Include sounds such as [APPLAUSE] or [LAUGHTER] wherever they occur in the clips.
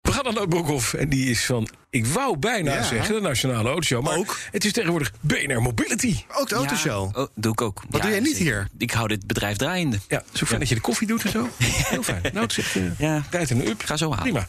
We gaan naar Nout Broekhoff en die is van, ik wou bijna Ja. zeggen, de Nationale Autoshow. Maar Ook. het is tegenwoordig BNR Mobility. Ook de autoshow. Ja, oh, doe ik ook. Wat doe jij niet hier? Ik hou dit bedrijf draaiende. Ja, zo fijn dat je de koffie doet en [LAUGHS] zo. Heel fijn. Nou, het zit, eh, Ja. rijdt in de up. Ga zo halen. Prima.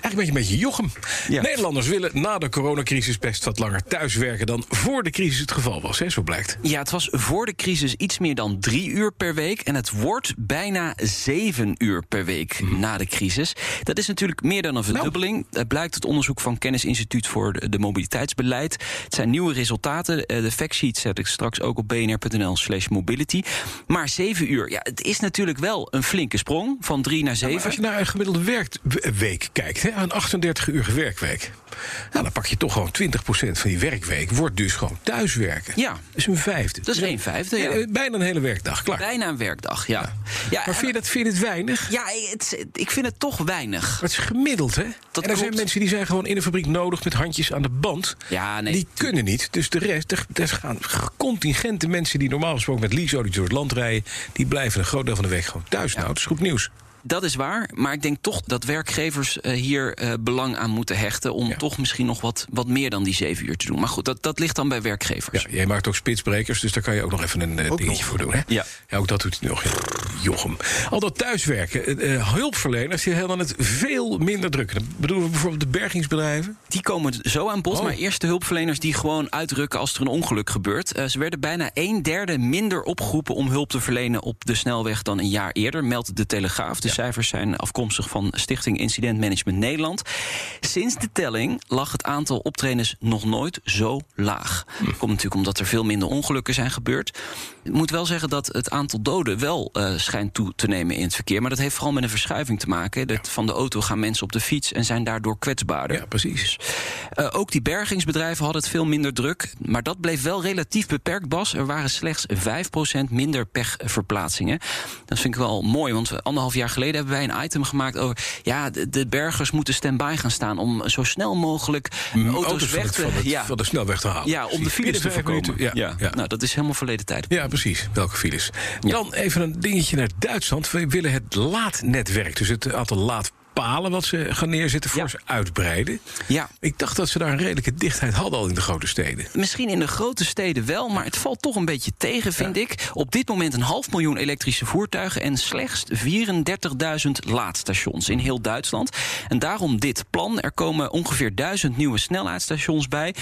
Eigenlijk ben je een beetje jochem. Ja. Nederlanders willen na de coronacrisis best wat langer thuiswerken... dan voor de crisis het geval was, hè, zo blijkt. Ja, het was voor de crisis iets meer dan drie uur per week. En het wordt bijna zeven uur per week na de crisis. Dat is natuurlijk meer dan een verdubbeling. Het blijkt uit onderzoek van Kennisinstituut voor de de Mobiliteitsbeleid. Het zijn nieuwe resultaten. Eh, De factsheet zet ik straks ook op bnr.nl slash mobility. Maar zeven uur, ja, het is natuurlijk wel een flinke sprong. Van drie naar Maar zeven. als je naar een gemiddelde werkweek kijkt, hè, aan 38-uurige werkweek... Nou, dan pak je toch gewoon 20% van die werkweek... wordt dus gewoon thuiswerken. Ja. Dat is een vijfde. Dat is een vijfde, ja. Eh, Bijna een hele werkdag, klaar. Bijna een werkdag, ja. ja. Maar vind je, dat, vind je dit weinig? Ja, het, ik vind het toch weinig. Maar het is gemiddeld, hè? en er klopt. zijn mensen die zijn gewoon in de fabriek nodig met handjes aan de band. Ja, nee. Die kunnen niet. Dus de rest, er, er gaan contingenten mensen die normaal gesproken met leaseauto's door het land rijden... die blijven een groot deel van de week gewoon thuis. Nou, dat is goed nieuws. Dat is waar, maar ik denk toch dat werkgevers eh, hier eh, belang aan moeten hechten... om Ja. toch misschien nog wat, wat meer dan die zeven uur te doen. Maar goed, dat, dat ligt dan bij werkgevers. Ja, jij maakt ook spitsbrekers, dus daar kan je ook nog even een eh, dingetje voor doen, hè? Ja. Ook dat doet hij nog. ja. Jochem. Al dat thuiswerken, eh, eh, hulpverleners, die hebben het veel minder druk. Dan bedoelen we bijvoorbeeld de bergingsbedrijven. Die komen zo aan bod, Oh. maar eerst de hulpverleners die gewoon uitrukken als er een ongeluk gebeurt. Eh, ze werden bijna een derde minder opgeroepen om hulp te verlenen op de snelweg dan een jaar eerder, meldt de Telegraaf. De cijfers zijn afkomstig van Stichting Incident Management Nederland. Sinds de telling lag het aantal optredens nog nooit zo laag. Hm. Komt natuurlijk omdat er veel minder ongelukken zijn gebeurd. Ik moet wel zeggen dat het aantal doden wel eh, schijnt toe te nemen in het verkeer, maar dat heeft vooral met een verschuiving te maken. Dat van de auto gaan mensen op de fiets en zijn daardoor kwetsbaarder. Ja, precies. Eh, ook die bergingsbedrijven hadden het veel minder druk. Maar dat bleef wel relatief beperkt, Bas. Er waren slechts 5% minder pechverplaatsingen. Dat vind ik wel mooi, want we- anderhalf jaar geleden hebben wij een item gemaakt over... ja, de, de bergers moeten stand-by gaan staan om zo snel mogelijk auto's, van, weg het, te... van, het- ja, van de snelweg te halen. ja, om de Precies. files te Binnen vijf voorkomen. minuten, Ja. ja. Nou, dat is helemaal verleden tijd. Ja, precies. Welke files? Dan even een dingetje naar Duitsland. We willen het laadnetwerk, dus het aantal laadpalen wat ze gaan neerzetten, fors uitbreiden. Ja. Ik dacht dat ze daar een redelijke dichtheid hadden al in de grote steden. Misschien in de grote steden wel, maar het valt toch een beetje tegen, vind ik. Op dit moment een half miljoen elektrische voertuigen en slechts 34.000 laadstations in heel Duitsland. En daarom dit plan. Er komen ongeveer 1000 nieuwe snellaadstations bij.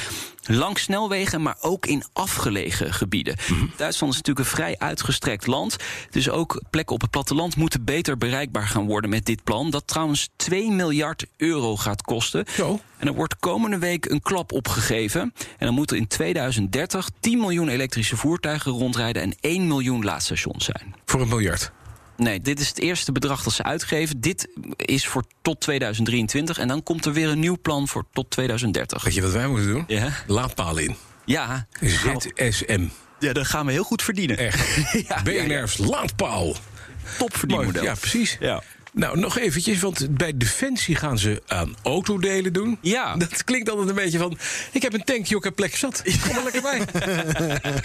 Langs snelwegen, maar ook in afgelegen gebieden. Duitsland is natuurlijk een vrij uitgestrekt land. Dus ook plekken op het platteland moeten beter bereikbaar gaan worden met dit plan. Dat trouwens 2 miljard euro gaat kosten. Zo. En er wordt komende week een klap opgegeven. En dan moeten in 2030 10 miljoen elektrische voertuigen rondrijden en 1 miljoen laadstations zijn. Voor een miljard. Nee, dit is het eerste bedrag dat ze uitgeven. Dit is voor tot 2023. En dan komt er weer een nieuw plan voor tot 2030. Weet je wat wij moeten doen? Ja. Laadpalen in. Ja, ZSM. ja daar gaan we heel goed [LAUGHS] verdienen. Echt. ja, BNR's laadpaal. Topverdienmodel. Ja, precies. Ja. Nou, nog eventjes, want bij Defensie gaan ze aan autodelen doen. Ja. Dat klinkt altijd een beetje van... ik heb een tankje, ik heb plek zat. Kom er lekker bij.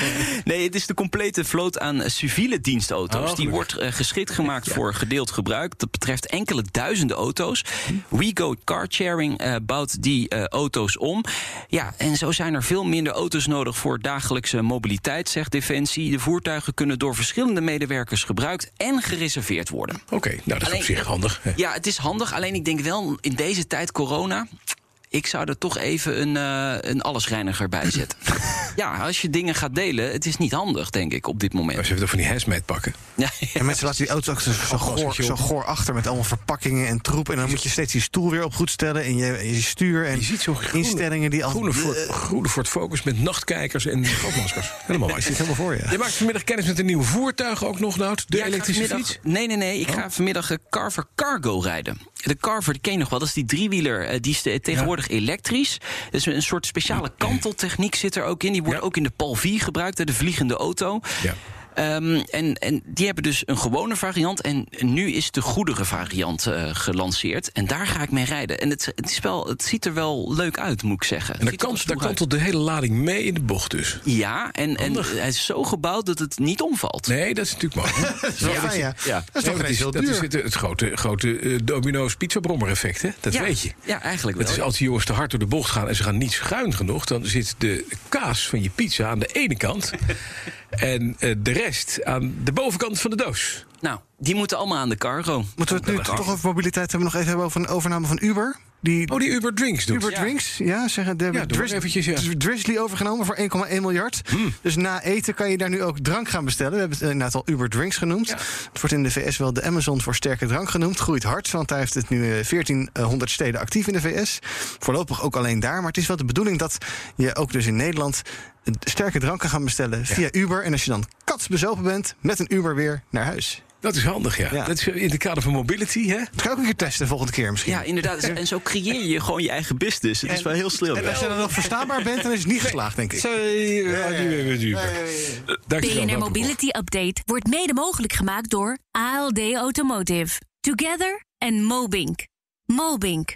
[LAUGHS] Nee, het is de complete vloot aan eh, civiele dienstauto's. Oh, die gelukkig. wordt eh, geschikt gemaakt voor gedeeld gebruik. Dat betreft enkele duizenden auto's. Hm. WeGo Carsharing eh bouwt die eh, auto's om. Ja, en zo zijn er veel minder auto's nodig voor dagelijkse mobiliteit, zegt Defensie. De voertuigen kunnen door verschillende medewerkers gebruikt en gereserveerd worden. Oké, nou dat is op Alleen- zich handig. hè. Ja, het is handig. Alleen ik denk wel in deze tijd corona. Ik zou er toch even een, eh een allesreiniger [LAUGHS] bij zetten. ja, als je dingen gaat delen, het is niet handig, denk ik, op dit Maar moment. ze hebben toch van die hazmat pakken? Ja, En mensen laten die auto's achter zo, goor, zo goor achter met allemaal verpakkingen en troep. En dan moet je steeds die stoel weer op goed stellen en je, je stuur en Je ziet zo'n groene- instellingen die al Eh, Groene voor, groene voor het focus met nachtkijkers en rookmaskers. [LAUGHS] Helemaal waar. zit helemaal voor je. Je maakt vanmiddag kennis met een nieuw voertuig ook nog, Nout. De Ja, ik ga elektrische vanmiddag- fiets. Oh. Nee, nee, nee. Ik ga vanmiddag eh, Carver Cargo rijden. De Carver, die ken je nog wel. Dat is die driewieler. eh, Die is eh, tegenwoordig elektrisch. Dus een soort speciale kanteltechniek zit er ook in. Die wordt Oh, Ja. ook in de Palvie gebruikt, eh, de vliegende auto. Ja. Um, en, en die hebben dus een gewone variant. En nu is de goederen variant uh, gelanceerd. En daar ga ik mee rijden. En het, het, is wel, het ziet er wel leuk uit, moet ik zeggen. En daar, kan, daar kantelt de hele lading mee in de bocht dus. Ja, en, Handig. en hij is zo gebouwd dat het niet omvalt. Nee, [LAUGHS] dat is natuurlijk mooi. dat is wel ja, fijn, ja. ja. Dat is toch nee, heel dat duur. Is het, het, grote, grote uh, domino's pizza brommer effect, hè? Dat ja. weet je. Ja, eigenlijk wel. Het is als die jongens te hard door de bocht gaan en ze gaan niet schuin genoeg... dan zit de kaas van je pizza aan de ene kant... en uh, de rest aan de bovenkant van de doos. Nou, die moeten allemaal aan de cargo. Moeten we het nu toch cargo. over mobiliteit hebben? Nog even hebben over een overname van Uber? Die, oh, die Uber Drinks doet. Uber ja. Drinks, ja, zeggen de ja, Drizz eventjes, ja. Drizzly overgenomen voor 1,1 miljard. Hmm. Dus na eten kan je daar nu ook drank gaan bestellen. We hebben het inderdaad al Uber Drinks genoemd. Ja. Het wordt in de VS wel de Amazon voor sterke drank genoemd. Groeit hard, want hij heeft het nu 1400 steden actief in de VS. Voorlopig ook alleen daar. Maar het is wel de bedoeling dat je ook dus in Nederland sterke dranken gaan bestellen via ja. Uber. En als je dan katsbezopen bent, met een Uber weer naar huis. Dat is handig, ja. ja. Dat is eh, in het kader van mobility, hè? Dat kan ook een keer testen volgende keer misschien. Ja, inderdaad. Dus- En zo creëer je gewoon je eigen business. Het is wel heel slim. En als je dan nog verstaanbaar bent, dan is het niet geslaagd, denk ik. Sorry, BNR Mobility Update wordt mede mogelijk gemaakt door ALD Automotive. Together en Mobink. Mobink.